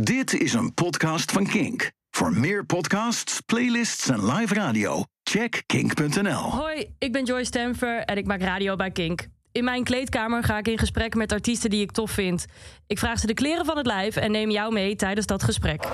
Dit is een podcast van Kink. Voor meer podcasts, playlists en live radio, check kink.nl. Hoi, ik ben Joyce Stamfer en ik maak radio bij Kink. In mijn kleedkamer ga ik in gesprek met artiesten die ik tof vind. Ik vraag ze de kleren van het lijf en neem jou mee tijdens dat gesprek.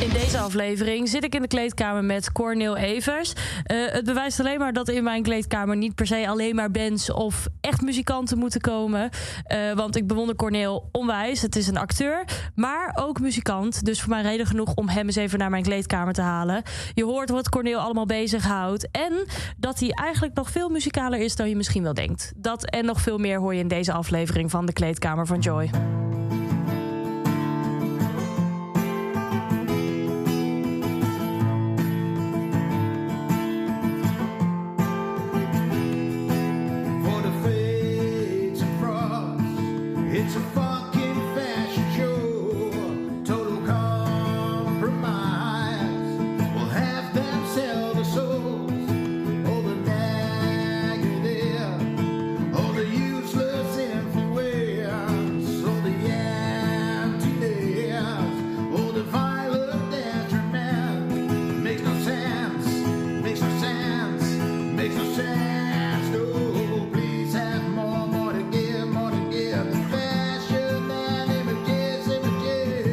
In deze aflevering zit ik in de kleedkamer met Corneel Evers. Eh, het bewijst alleen maar dat in mijn kleedkamer niet per se alleen maar bands of echt muzikanten moeten komen. Eh, want ik bewonder Corneel onwijs. Het is een acteur, maar ook muzikant. Dus voor mij reden genoeg om hem eens even naar mijn kleedkamer te halen. Je hoort wat Corneel allemaal bezighoudt. En dat hij eigenlijk nog veel muzikaler is dan je misschien wel denkt. Dat en nog veel meer hoor je in deze aflevering van de kleedkamer van Joy. For the fades across, it's a fucking fashion show. Total compromise will have them sell their souls over negative, all the useless influence, all the emptiness, all the violent detriment. Makes no sense, makes no sense, makes no sense. No, please have more, more to give, more to give. The fashion and images, images.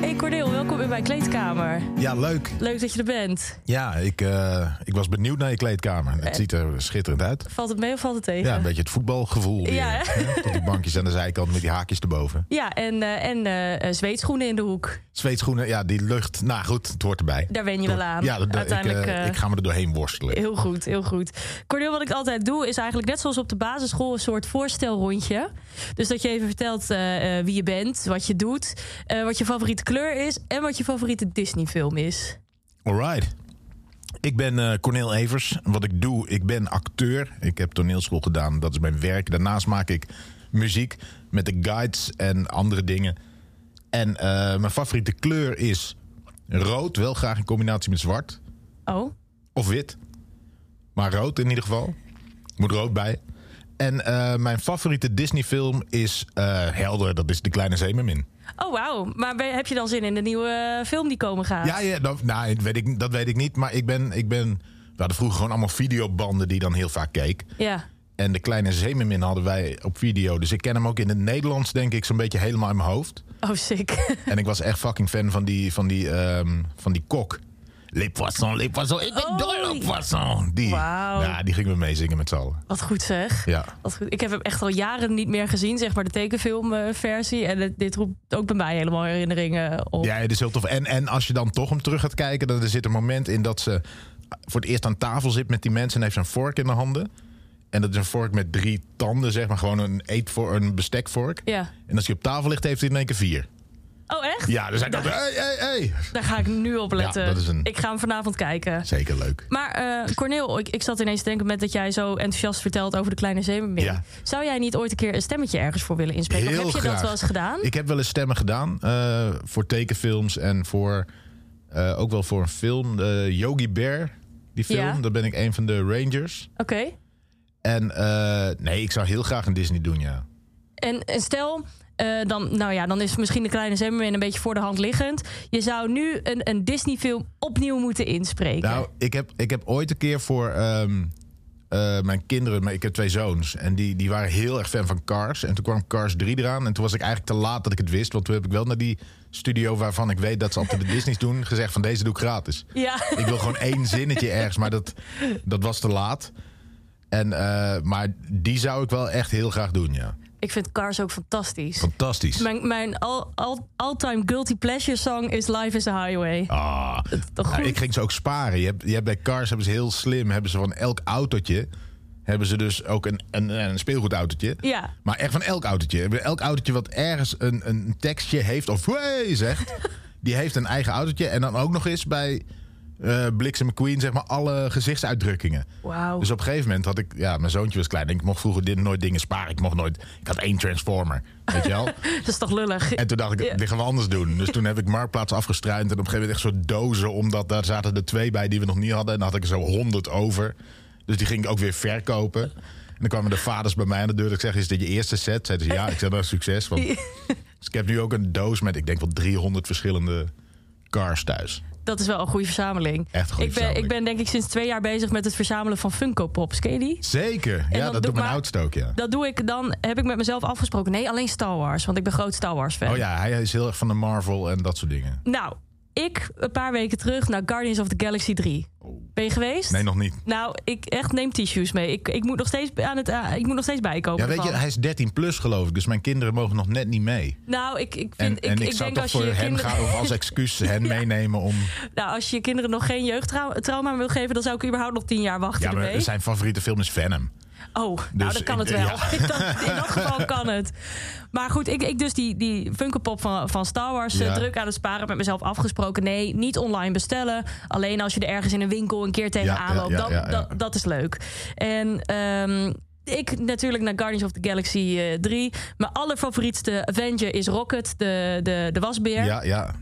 Hey Corneel, welkom in mijn kleedkamer. Ja, leuk. Leuk dat je er bent. Ja, ik, eh, ik was benieuwd naar je kleedkamer. Het ziet er schitterend uit. Valt het mee of valt het tegen? Ja, een beetje het voetbalgevoel. Weer, Ja, hè? hè? Tot die bankjes aan de zijkant met die haakjes erboven. Ja, en, eh, en eh, eh, zweetschoenen in de hoek. Zweetschoenen, ja, die lucht. Nou goed, het hoort erbij. Daar wen je wel aan. Ja, dat- dat- Uiteindelijk. ik, eh, eh, ik ga me er doorheen worstelen. Heel goed, heel goed. Cornel, wat ik altijd doe is eigenlijk net zoals op de basisschool een soort voorstelrondje. Dus dat je even vertelt eh, eh, wie je bent, wat je doet, eh, wat je favoriete kleur is en wat je favoriete Disney-film is. Alright. Ik ben eh Corneel Evers. Wat ik doe, ik ben acteur. Ik heb toneelschool gedaan, dat is mijn werk. Daarnaast maak ik muziek met de guides en andere dingen. En eh, mijn favoriete kleur is rood. Wel graag in combinatie met zwart. Oh, Of wit. Maar rood in ieder geval. Moet rood bij. En eh, mijn favoriete Disney-film is eh, Helder. Dat is De Kleine Zeemermin. oh wauw. Maar ben- heb je dan zin in de nieuwe eh, film die komen gaat? Ja, ja dat, nou, dat, weet ik, dat weet ik niet. Maar ik ben, ik ben... We hadden vroeger gewoon allemaal videobanden die je dan heel vaak keek. Ja. En De Kleine Zeemermin hadden wij op video. Dus ik ken hem ook in het Nederlands, denk ik, zo'n beetje helemaal in mijn hoofd. Oh, sick. En ik was echt fucking fan van die, van die, ehm, van die kok. Les poissons, les poissons, ik ben Oh. dol op poissons. Die, Wauw. ja, die gingen we meezingen met z'n allen. Wat goed zeg. Ja. Wat goed. Ik heb hem echt al jaren niet meer gezien, zeg maar, de tekenfilmversie. en het- dit roept ook bij mij helemaal herinneringen op. Ja, het is heel tof. En, en als je dan toch hem terug gaat kijken, dan er zit een moment in dat ze voor het eerst aan tafel zit met die mensen en heeft ze een vork in de handen. En dat is een vork met drie tanden, zeg maar gewoon een, eetvork, een bestekvork. Ja. En als hij op tafel ligt, heeft hij in één keer vier. Oh, echt? Ja, dus hij dacht, hey, hey, hey. Daar ga ik nu op letten. Ja, dat is een- Ik ga hem vanavond kijken. Zeker leuk. Maar eh, Corneel, ik, ik zat ineens te denken met dat jij zo enthousiast vertelt over de kleine zeemermin. Ja. Zou jij niet ooit een keer een stemmetje ergens voor willen inspreken? of Heel heb je dat graag. wel eens gedaan? Ik heb wel eens stemmen gedaan eh, voor tekenfilms en voor eh, ook wel voor een film. eh, Yogi Bear, die film. Ja. Daar ben ik een van de Rangers. Oké. En eh, nee, ik zou heel graag een Disney doen, ja. En, en stel, eh, dan, nou ja, dan is misschien de kleine zeemermin een beetje voor de hand liggend. Je zou nu een, een Disney-film opnieuw moeten inspreken. Nou, ik heb, ik heb ooit een keer voor ehm, eh, mijn kinderen, maar ik heb twee zoons. En die, die waren heel erg fan van Cars. En toen kwam Cars 3 eraan. En toen was ik eigenlijk te laat dat ik het wist. Want toen heb ik wel naar die studio waarvan ik weet dat ze altijd de Disney's doen, gezegd van deze doe ik gratis. Ja. Ik wil gewoon één zinnetje ergens, maar dat, dat was te laat. En, eh, maar die zou ik wel echt heel graag doen, ja. Ik vind Cars ook fantastisch. Fantastisch. Mijn, mijn all- all- all-time guilty pleasure song is Life is a Highway. Ah, toch nou, goed? ik ging ze ook sparen. Je hebt, je hebt bij Cars hebben ze heel slim, hebben ze van elk autootje hebben ze dus ook een, een, een speelgoedautootje. Ja. Maar echt van elk autootje. Elk autootje wat ergens een, een tekstje heeft of hey zegt, die heeft een eigen autootje. En dan ook nog eens bij eh Bliksem McQueen, zeg maar, alle gezichtsuitdrukkingen. Wauw. Dus op een gegeven moment had ik, ja, mijn zoontje was klein. en Ik mocht vroeger dit, nooit dingen sparen. Ik mocht nooit. Ik had één Transformer. Weet je wel? Dat is toch lullig? En toen dacht ik, Ja. dit gaan we anders doen. Dus toen heb ik Marktplaats afgestruind. En op een gegeven moment echt zo'n dozen. Omdat daar zaten er twee bij die we nog niet hadden. En dan had ik er zo honderd over. Dus die ging ik ook weer verkopen. En dan kwamen de vaders bij mij aan de deur. Ik zeg, is dit je eerste set? Zeiden ze, ja. Ik zei, dat is succes. Want... Dus ik heb nu ook een doos met, ik denk wel 300 verschillende cars thuis. Dat is wel een goede verzameling. Echt een goede ik, ben, ik verzameling. ben denk ik sinds twee jaar bezig met het verzamelen van Funko Pops. Ken je die? Zeker. dan Ja, doe dat doet ik mijn maar- oudste ook, ja. Dat doe ik, dan heb ik met mezelf afgesproken. Nee, alleen Star Wars, want ik ben groot Star Wars fan. Oh ja, hij is heel erg van de Marvel en dat soort dingen. Nou, ik een paar weken terug naar Guardians of the Galaxy 3. Ben je geweest? Oh. Nee, nog niet. Nou, ik echt neem tissues mee. Ik, ik, moet, nog steeds aan het, eh, ik moet nog steeds bijkomen. Ja, weet je, ervan. hij is 13 plus geloof ik. Dus mijn kinderen mogen nog net niet mee. nou, ik, ik En, vind. en ik, ik, ik, zou denk toch als je voor je hen kinderen, gaan, of als excuus hen meenemen om... nou, als je je kinderen nog geen jeugdtrauma wil geven, dan zou ik überhaupt nog tien jaar wachten. Ja, maar ermee. zijn favoriete film is Venom. Oh, nou Dus dan kan ik- het wel. ja. In dat- in dat geval kan het. Maar goed, ik, ik dus die, die Funko Pop van, van Star Wars eh, Ja. druk aan het sparen. Met mezelf afgesproken, nee, niet online bestellen. Alleen als je er ergens in een winkel een keer Ja, tegenaan ja, loopt. ja, dat, ja, ja. Dat, dat is leuk. En ehm, ik natuurlijk naar Guardians of the Galaxy eh, 3. Mijn allerfavorietste Avenger is Rocket, de, de, de wasbeer Ja, ja.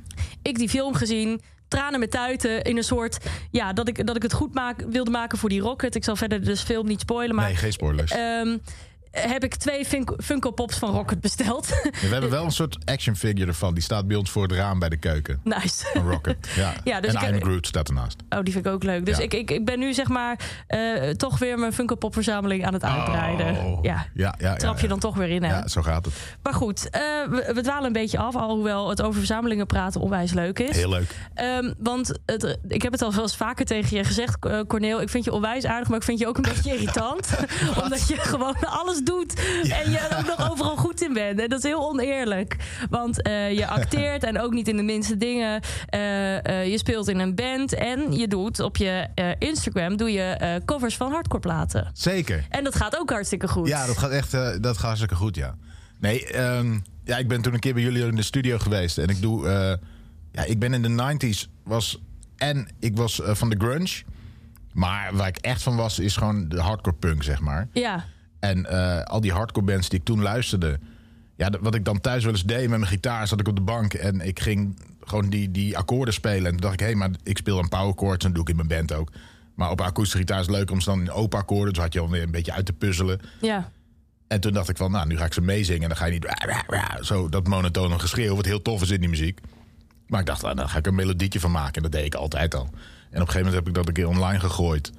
ik die film gezien. Tranen met tuiten in een soort. Ja, dat ik, dat ik het goed maak, wilde maken voor die Rocket. Ik zal verder dus film niet spoilen. Maar Nee, geen spoilers. ehm, heb ik twee Funko, Funko Pops van Rocket besteld. Ja, we hebben wel een soort action figure ervan. Die staat bij ons voor het raam bij de keuken. nice. Een rocket. Ja. Ja, dus ik- en I'm Groot staat ernaast. Oh, die vind ik ook leuk. Dus Ja. ik, ik, ik ben nu zeg maar eh, toch weer mijn Funko Pop verzameling aan het uitbreiden. Oh. Ja. Ja, ja, ja, Trap je ja. dan toch weer in, hè? Ja, zo gaat het. Maar goed, eh, we, we dwalen een beetje af. Alhoewel het over verzamelingen praten onwijs leuk is. Heel leuk. Ehm, want het, ik heb het al wel eens vaker tegen je gezegd, eh, Corneel. Ik vind je onwijs aardig, maar ik vind je ook een beetje irritant. omdat je gewoon alles doet. En je er ook nog overal goed in bent. En dat is heel oneerlijk. Want eh, je acteert en ook niet in de minste dingen. Eh, eh, je speelt in een band. En je doet op je eh, Instagram doe je, eh, covers van hardcore platen. Zeker. En dat gaat ook hartstikke goed. Ja, dat gaat echt eh, dat gaat hartstikke goed, ja. Nee, ehm, ja, ik ben toen een keer bij jullie in de studio geweest. En ik doe... eh, ja, ik ben in de 90s was... En ik was eh, van de grunge. Maar waar ik echt van was, is gewoon de hardcore punk, zeg maar. Ja. En eh, al die hardcore bands die ik toen luisterde. Ja, d- wat ik dan thuis wel eens deed met mijn gitaar, zat ik op de bank en ik ging gewoon die, die akkoorden spelen. En toen dacht ik, hé, maar ik speel een powerchord, en dat doe ik in mijn band ook. Maar op akoestische gitaar is het leuk om ze dan in open akkoorden, dus had je alweer een beetje uit te puzzelen. ja. En En toen dacht ik van, nou, nu ga ik ze meezingen en dan ga je niet "Wa, wa, wa", zo dat monotone geschreeuw, wat heel tof is in die muziek. Maar ik dacht, ah, daar ga ik een melodietje van maken. En dat deed ik altijd al. En op een gegeven moment heb ik dat een keer online gegooid.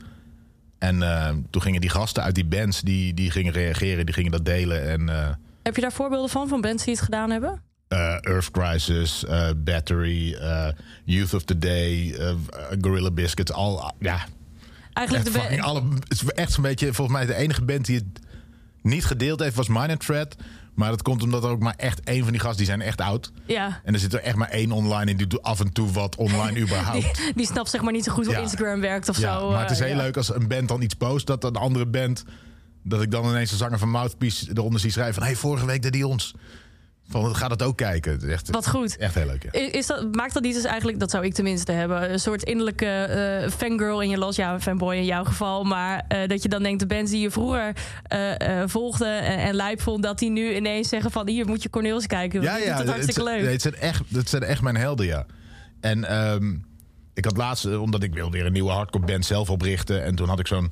En eh, toen gingen die gasten uit die bands, die, die gingen reageren, die gingen dat delen. En eh, Heb je daar voorbeelden van, van bands die het gedaan hebben? eh, Earth Crisis, eh, Battery, eh, Youth of the Day, eh, Gorilla Biscuits. Al, ja, Eigenlijk echt de fucking ba- alle, het is echt zo'n beetje, volgens mij de enige band die het niet gedeeld heeft was Minor Threat. Maar dat komt omdat er ook maar echt één van die gasten, die zijn echt oud. Ja. En er zit er echt maar één online en die doet af en toe wat online überhaupt. Die snapt zeg maar niet zo goed hoe Ja. Instagram werkt of ja, zo. maar het is eh, heel ja. leuk als een band dan iets post, dat een andere band, dat ik dan ineens de zanger van Mouthpiece eronder zie schrijven van, hey, vorige week deed die ons. Van, ga dat ook kijken. Het is Echt, Wat goed. Echt heel leuk, ja. I- Is dat, maakt dat niet dus eigenlijk, dat zou ik tenminste hebben, een soort innerlijke eh, fangirl in je los, ja, een fanboy in jouw geval, maar eh, dat je dan denkt, de bands die je vroeger eh, eh, volgde en, en lijp vond, dat die nu ineens zeggen van, hier moet je Cornel eens kijken, want die doet het hartstikke het, leuk. nee, het zijn echt, het zijn echt mijn helden, ja. En ehm, ik had laatst, eh, omdat ik wil weer een nieuwe hardcore band zelf oprichten. En toen had ik zo'n,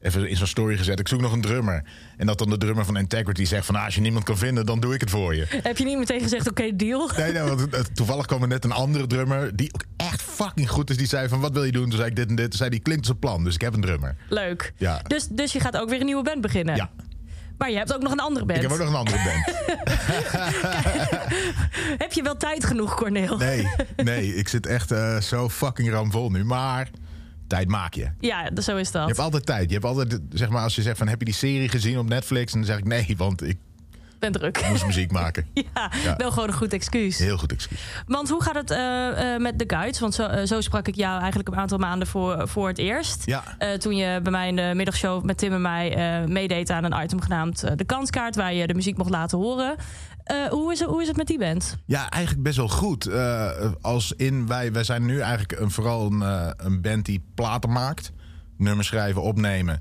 even in zo'n story gezet, ik zoek nog een drummer. En dat dan de drummer van Integrity zegt van, ah, als je niemand kan vinden, dan doe ik het voor je. Heb je niet meteen gezegd, oké, deal? Nee, nee, want eh, toevallig kwam er net een andere drummer, die ook echt fucking goed is. Die zei van, wat wil je doen? Toen zei ik dit en dit. Toen zei die klinkt als een plan, dus ik heb een drummer. Leuk. Ja. Dus, dus je gaat ook weer een nieuwe band beginnen. Ja, Maar je hebt ook nog een andere band. ik heb ook nog een andere band. Heb je wel tijd genoeg, Cornel? Nee, nee, ik zit echt eh, zo fucking ramvol nu. Maar tijd maak je. Ja, d- zo is dat. Je hebt altijd tijd. Je hebt altijd, zeg maar, als je zegt van heb je die serie gezien op Netflix? En dan zeg ik nee, want ik Ben druk. moest muziek maken. Ja, Ja. wel gewoon een goed excuus. Heel goed excuus. Want hoe gaat het eh, eh, met de guides? Want zo, eh, zo sprak ik jou eigenlijk een aantal maanden voor, voor het eerst. Ja. Eh, toen je bij mij in de middagshow met Tim en mij eh, meedeed aan een item genaamd eh, De Kanskaart, waar je de muziek mocht laten horen. Eh, hoe, is het, hoe is het met die band? Ja, eigenlijk best wel goed. Eh, als in, wij, wij zijn nu eigenlijk een, vooral een, eh, een band die platen maakt. Nummers schrijven, opnemen.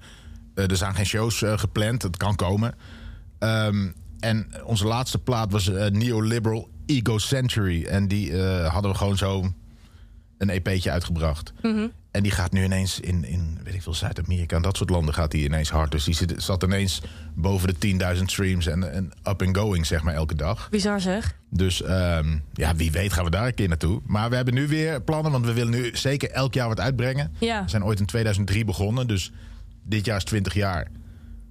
Eh, er zijn geen shows eh, gepland, dat kan komen. Ehm, en onze laatste plaat was eh, Neoliberal Ego Century. En die eh, hadden we gewoon zo een EP'tje uitgebracht. En die gaat nu ineens in, in weet ik veel, Zuid-Amerika en dat soort landen gaat die ineens hard. Dus die zit, zat ineens boven de 10.000 streams en, en up and going, zeg maar, elke dag. Bizar zeg. Dus ehm, ja, wie weet gaan we daar een keer naartoe. Maar we hebben nu weer plannen, want we willen nu zeker elk jaar wat uitbrengen. Ja. We zijn ooit in 2003 begonnen, dus dit jaar is 20 jaar.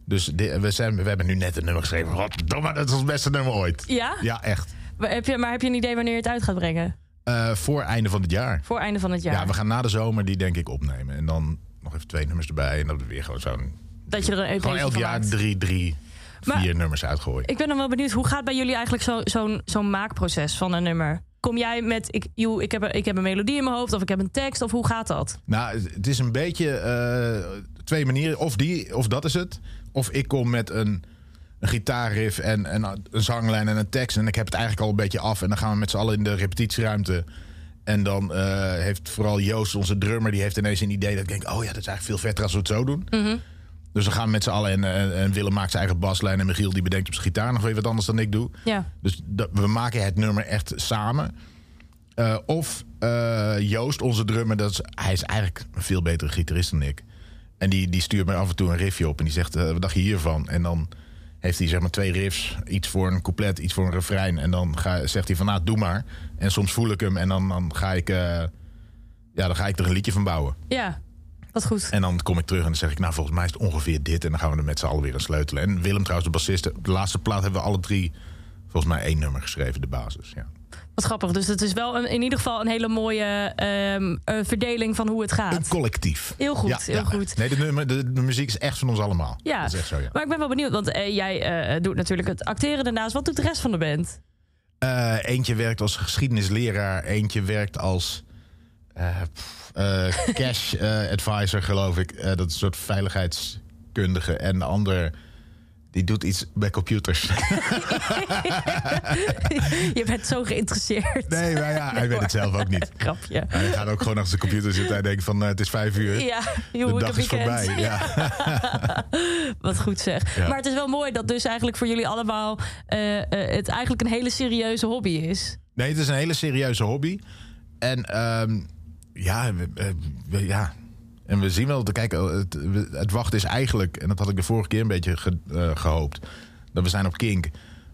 Dus di- we, zijn, we hebben nu net een nummer geschreven. Goddomme, dat is ons beste nummer ooit. Ja? Ja, echt. Maar heb, je, maar heb je een idee wanneer je het uit gaat brengen? Eh, voor einde van het jaar. Voor einde van het jaar. Ja, we gaan na de zomer die denk ik opnemen. En dan nog even twee nummers erbij. En dan weer gewoon zo'n... Dat je er een EP Gewoon elk van jaar maakt. drie, drie, vier Maar- nummers uitgooien. Ik ben dan wel benieuwd, hoe gaat bij jullie eigenlijk zo- zo'n zo'n maakproces van een nummer? Kom jij met, ik, joe, ik, heb een, ik heb een melodie in mijn hoofd of ik heb een tekst of hoe gaat dat? Nou, het- het is een beetje eh, twee manieren. Of die, of dat is het. Of ik kom met een, een gitaarriff en, en een zanglijn en een tekst. En ik heb het eigenlijk al een beetje af. En dan gaan we met z'n allen in de repetitieruimte. En dan eh, heeft vooral Joost, onze drummer, die heeft ineens een idee dat ik denk: oh ja, dat is eigenlijk veel vetter als we het zo doen. Dus dan gaan we met z'n allen en, en, en Willem maakt zijn eigen baslijn. En Michiel die bedenkt op zijn gitaar nog weer wat anders dan ik doe. Ja. Dus dat- we maken het nummer echt samen. Eh, of eh, Joost, onze drummer, dat is, hij is eigenlijk een veel betere gitarist dan ik. En die, die stuurt mij af en toe een riffje op en die zegt, eh, wat dacht je hiervan? En dan heeft hij zeg maar twee riffs, iets voor een couplet, iets voor een refrein. En dan ga, zegt hij van, nou, doe maar. En soms voel ik hem en dan, dan, ga ik, eh, ja, dan ga ik er een liedje van bouwen. Ja, wat goed. En dan kom ik terug en dan zeg ik, nou, volgens mij is het ongeveer dit. En dan gaan we er met z'n allen weer aan sleutelen. En Willem trouwens, de bassist, op de laatste plaat hebben we alle drie... volgens mij één nummer geschreven, de basis, ja. Wat grappig. Dus het is wel een, in ieder geval een hele mooie ehm, eh, verdeling van hoe het Een gaat. collectief. Heel goed, heel goed. Nee, de, nummer, de, de muziek is echt van ons allemaal. Ja, Dat is echt zo, ja. maar ik ben wel benieuwd, want eh, jij eh, doet natuurlijk het acteren daarnaast. Wat doet de rest van de band? Eh, eentje werkt als geschiedenisleraar. Eentje werkt als eh, pff, eh, cash eh, advisor, geloof ik. Eh, dat is een soort veiligheidskundige. En de ander, die doet iets bij computers. Je bent zo geïnteresseerd. nee, maar ja, hij weet het zelf ook niet. Grapje. Hij gaat ook gewoon achter de computer zitten en denkt van eh, het is vijf uur. Ja, de joh, ik heb dag is weekend. voorbij. Ja. Wat goed zeg. Ja. Maar het is wel mooi dat dus eigenlijk voor jullie allemaal eh, eh, het eigenlijk een hele serieuze hobby is. Nee, het is een hele serieuze hobby. En ehm, ja, we, eh, we- ja. En we zien wel, kijk, eh, het, we- het wachten is eigenlijk, en dat had ik de vorige keer een beetje ge- eh, gehoopt, dat we zijn op Kink.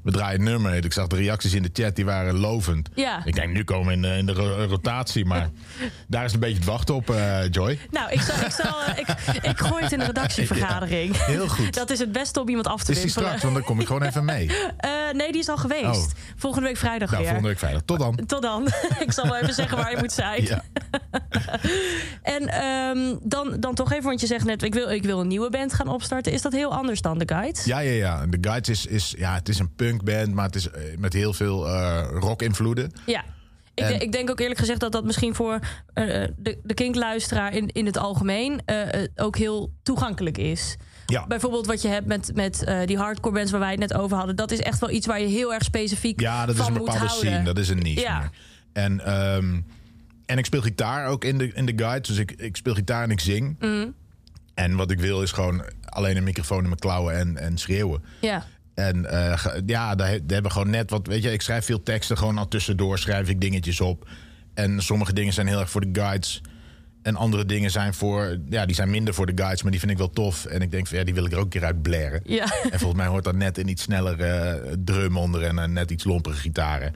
We draaien een nummer. Ik zag de reacties in de chat, die waren lovend. Ja. Ik denk, nu komen we in, de- in de ro- rotatie, maar daar is een beetje het wachten op, eh, Joy. Nou, ik, zal, ik, zal, eh, ik, ik gooi het in de redactievergadering. Heel goed. Dat is het beste om iemand af te is die wimpelen. straks, want dan kom ik gewoon even mee. Eh, nee, die is al geweest. Oh. Volgende week vrijdag Nou, weer. volgende week vrijdag. Tot dan. Tot dan. ik zal wel even zeggen waar je moet zijn. Ja. En ehm, dan, dan toch even, want je zegt net... Ik wil, ik wil een nieuwe band gaan opstarten. Is dat heel anders dan de Guides? Ja, ja, ja. De Guides is, is, ja, het is een punkband, maar het is eh, met heel veel eh, rock-invloeden. Ja. Ik, En- de- ik denk ook eerlijk gezegd dat dat misschien voor eh, eh, de, de kinkluisteraar in, in het algemeen eh, eh, ook heel toegankelijk is. Ja. Bijvoorbeeld wat je hebt met, met eh, die hardcore bands waar wij het net over hadden. Dat is echt wel iets waar je heel erg specifiek Ja, dat van is een moet bepaalde houden. scene. Dat is een niche. Ja. meer. En, ehm, en ik speel gitaar ook in de, in de guide. Dus ik, ik speel gitaar en ik zing. Mhm. En wat ik wil is gewoon alleen een microfoon in mijn klauwen en, en schreeuwen. Ja. En eh, ge- ja, daar, he- daar hebben we gewoon net wat. Weet je, ik schrijf veel teksten, gewoon al tussendoor schrijf ik dingetjes op. En sommige dingen zijn heel erg voor de guides. En andere dingen zijn voor. Ja, die zijn minder voor de guides, maar die vind ik wel tof. En ik denk van ja, die wil ik er ook een keer uit blaren. Ja. En volgens mij hoort dat net een iets sneller eh, drum onder en een net iets lompere gitaren.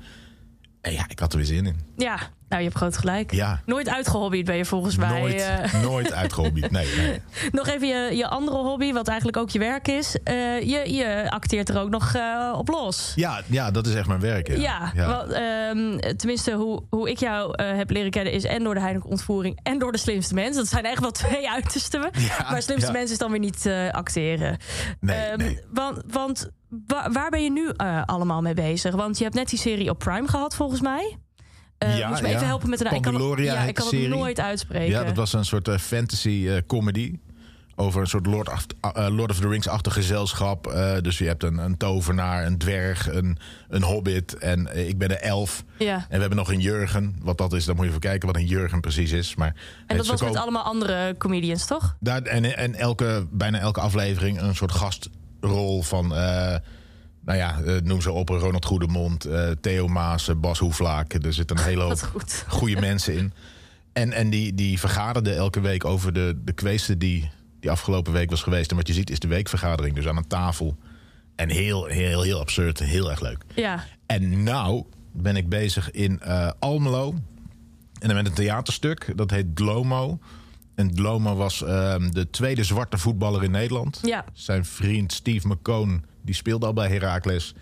En ja, ik had er weer zin in. ja, nou je hebt groot gelijk. Ja. Nooit uitgehobbied ben je volgens mij. nooit, eh. nooit uitgehobbied. Nee, nee. nog even je, je andere hobby, wat eigenlijk ook je werk is. Eh, je, je acteert er ook nog eh, op los. Ja, ja, dat is echt mijn werk. Ja, Ja, wel, ehm, tenminste, hoe, hoe ik jou eh, heb leren kennen is en door de Heineken ontvoering en door de slimste mens. Dat zijn echt wel twee uitersten. Ja, maar slimste ja. mens is dan weer niet eh, acteren. Nee, Ehm, nee. Want, want wa- waar ben je nu eh, allemaal mee bezig? Want je hebt net die serie op Prime gehad, volgens mij. Eh, Ja, moet je me ja. even helpen met de naam? Ik kan, het- Pandaloria ja, heet ik kan de het serie. nooit uitspreken. Ja, dat was een soort eh, fantasy eh, comedy. over een soort Lord of, eh, Lord of the Rings-achtig gezelschap. Eh, dus je hebt een, een tovenaar, een dwerg, een, een hobbit en eh, ik ben een elf. Ja. En we hebben nog een Jurgen. Wat dat is, dan moet je even kijken wat een Jurgen precies is. Maar En dat ze was met komen- allemaal andere comedians, toch? daar, en en elke, bijna elke aflevering een soort gastrol van... eh, nou ja, eh, noem ze op. Ronald Goedemond, eh, Theo Maas, eh, Bas Hoeflaak. Er zitten een hele Wat hoop goed. goede mensen in. En, en die, die vergaderden elke week over de, de kweesten die, die afgelopen week was geweest. En wat je ziet is de weekvergadering, dus aan een tafel. En heel, heel, heel absurd. en Heel erg leuk. Ja. En nou ben ik bezig in eh, Almelo. En dan met een theaterstuk. Dat heet Dlomo. En Dlomo was ehm, de tweede zwarte voetballer in Nederland. Ja. Zijn vriend Steve McCoon, die speelde al bij Heracles.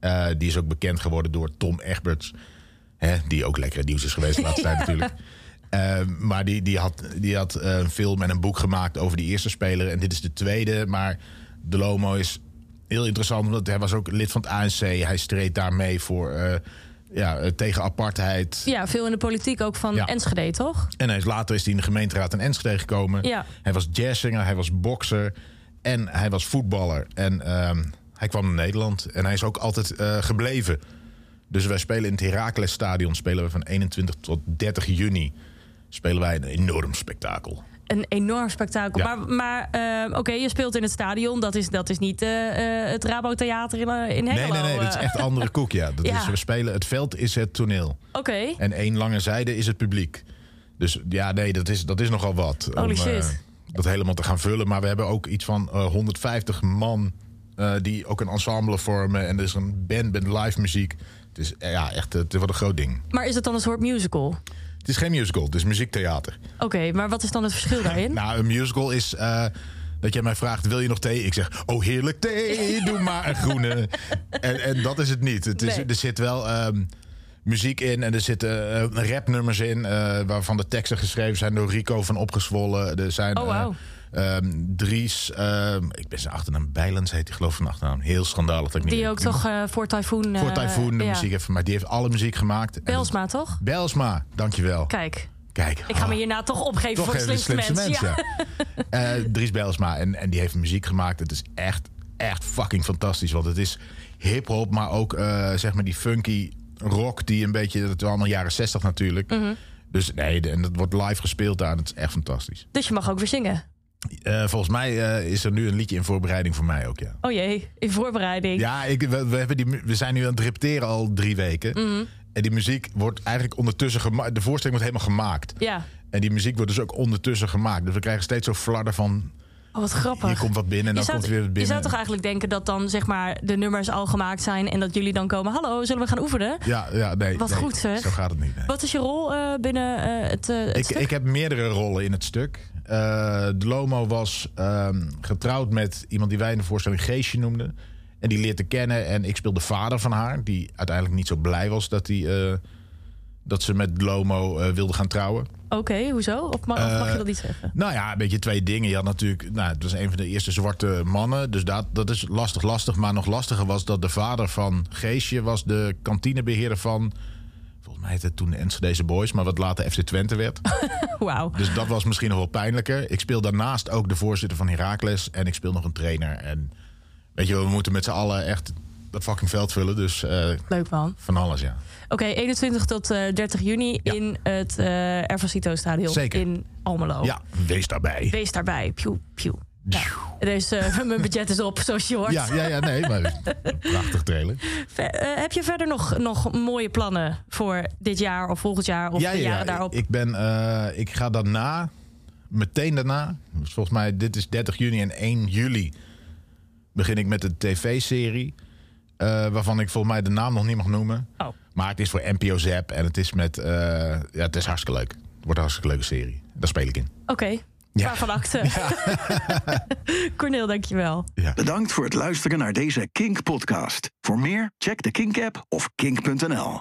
Eh, die is ook bekend geworden door Tom Egberts. Hè, die ook lekker nieuws is geweest de laatste tijd natuurlijk. Eh, maar die, die had, die had eh, een film en een boek gemaakt over die eerste speler. En dit is de tweede. Maar De Lomo is heel interessant. Omdat hij was ook lid van het ANC. Hij streed daarmee voor, eh, ja, eh, tegen apartheid. ja, veel in de politiek ook van Ja. Enschede, toch? En hij is later is hij in de gemeenteraad in Enschede gekomen. Ja. Hij was jazzzanger, hij was bokser en hij was voetballer. En ehm, hij kwam naar Nederland en hij is ook altijd eh, gebleven. Dus wij spelen in het Heracles Stadion spelen we van 21 tot 30 juni spelen wij een enorm spektakel. Een enorm spektakel. Ja. Maar, maar eh, oké, je speelt in het stadion. Dat is, dat is niet eh, eh, het Rabo Theater in, eh, in Nee, Hengelo. nee, nee, dat is eh. echt andere koek, ja. Dat Ja. Is, we spelen, het veld is het toneel. Oké. En één lange zijde is het publiek. Dus ja, nee, dat is, dat is nogal wat. Holy shit. eh, dat helemaal te gaan vullen. Maar we hebben ook iets van eh, 150 man eh, die ook een ensemble vormen. En er is een band met live muziek. Het is eh, ja, echt, het wordt een groot ding. Maar is het dan een soort musical? Het is geen musical, het is muziektheater. Oké, maar wat is dan het verschil daarin? Nou, een musical is eh, dat jij mij vraagt, wil je nog thee? Ik zeg, oh heerlijk thee, doe maar een groene. En, en dat is het niet. Het is, Nee. Er zit wel ehm, muziek in en er zitten eh, rapnummers in... eh, waarvan de teksten geschreven zijn door Rico van Opgezwollen. Er zijn Oh, eh, wauw. ehm, Dries, ehm, ik ben zijn achternaam, Bijlens heet hij geloof ik van achternaam. Heel schandalig dat ik niet Die weet. ook toch eh, voor Typhoon... eh, Voor Typhoon de ja. muziek heeft gemaakt. Die heeft alle muziek gemaakt. En dat- Belsma, toch? Belsma, dankjewel. Kijk, Kijk. ik ga ah. me hierna toch opgeven voor de Toch even slimste, mens. Ja. ja. Eh, Dries Bijlsma. En, en die heeft muziek gemaakt. Het is echt, echt fucking fantastisch. Want het is hip-hop, maar ook eh, zeg maar die funky rock. Die een beetje, dat is allemaal jaren 60 natuurlijk. Mhm. Dus nee, de- en dat wordt live gespeeld daar. Dat is echt fantastisch. Dus je mag ook weer zingen. Eh, volgens mij eh, is er nu een liedje in voorbereiding voor mij ook, ja. Oh jee, in voorbereiding. Ja, ik, we, we, hebben die, mu- we zijn nu aan het repeteren al drie weken. Mhm. En die muziek wordt eigenlijk ondertussen gemaakt. De voorstelling wordt helemaal gemaakt. Ja. En die muziek wordt dus ook ondertussen gemaakt. Dus we krijgen steeds zo'n fladder van Oh, wat grappig. Hier komt wat binnen en dan je, zou, komt er weer wat je binnen. zou toch eigenlijk denken dat dan zeg maar de nummers al gemaakt zijn en dat jullie dan komen. Hallo, zullen we gaan oefenen? Ja, ja, nee. Wat nee, goed, zeg. Zo gaat het niet. nee. Wat is je rol eh, binnen eh, het, eh, het Ik, stuk? ik heb meerdere rollen in het stuk. Eh de Lomo was ehm, getrouwd met iemand die wij in de voorstelling Geesje noemden. En die leert te kennen. En ik speel de vader van haar. Die uiteindelijk niet zo blij was dat, die, eh, dat ze met Lomo eh, wilde gaan trouwen. Oké, hoezo? Of mag, of mag je dat niet zeggen? Nou ja, een beetje twee dingen. Je had natuurlijk, nou, het was een van de eerste zwarte mannen. Dus dat, dat is lastig, lastig. Maar nog lastiger was dat de vader van Geesje was de kantinebeheerder van. Volgens mij heette het toen de Enschedeze Boys, maar wat later FC Twente werd. Wauw. Dus dat was misschien nog wel pijnlijker. Ik speel daarnaast ook de voorzitter van Heracles. En ik speel nog een trainer. En weet je wel, we moeten met z'n allen echt dat fucking veld vullen. Dus eh, Leuk man. van alles, ja. Oké, 21 tot eh, 30 juni Ja. in het eh Ervasito Stadion Zeker. in Almelo. Ja, Oh, wees daarbij. Wees daarbij. Pew, pew. Ja. Dus eh, mijn budget is op, zoals je hoort. Ja, ja, ja, nee, maar prachtig trailer. Ver- eh, heb je verder nog, nog mooie plannen voor dit jaar of volgend jaar of de jaren daarop? Ik, ben, eh, ik ga daarna, meteen daarna, dus volgens mij dit is 30 juni en 1 juli, begin ik met een tv-serie. eh, waarvan ik volgens mij de naam nog niet mag noemen. Oh. Maar het is voor NPO Zap en het is met, eh, ja, het is hartstikke leuk. Het wordt een hartstikke leuke serie. Daar speel ik in. Oké, waarvan akte. Corneel, dankjewel. Ja. Bedankt voor het luisteren naar deze Kink-podcast. Voor meer, check de Kink-app of kink.nl.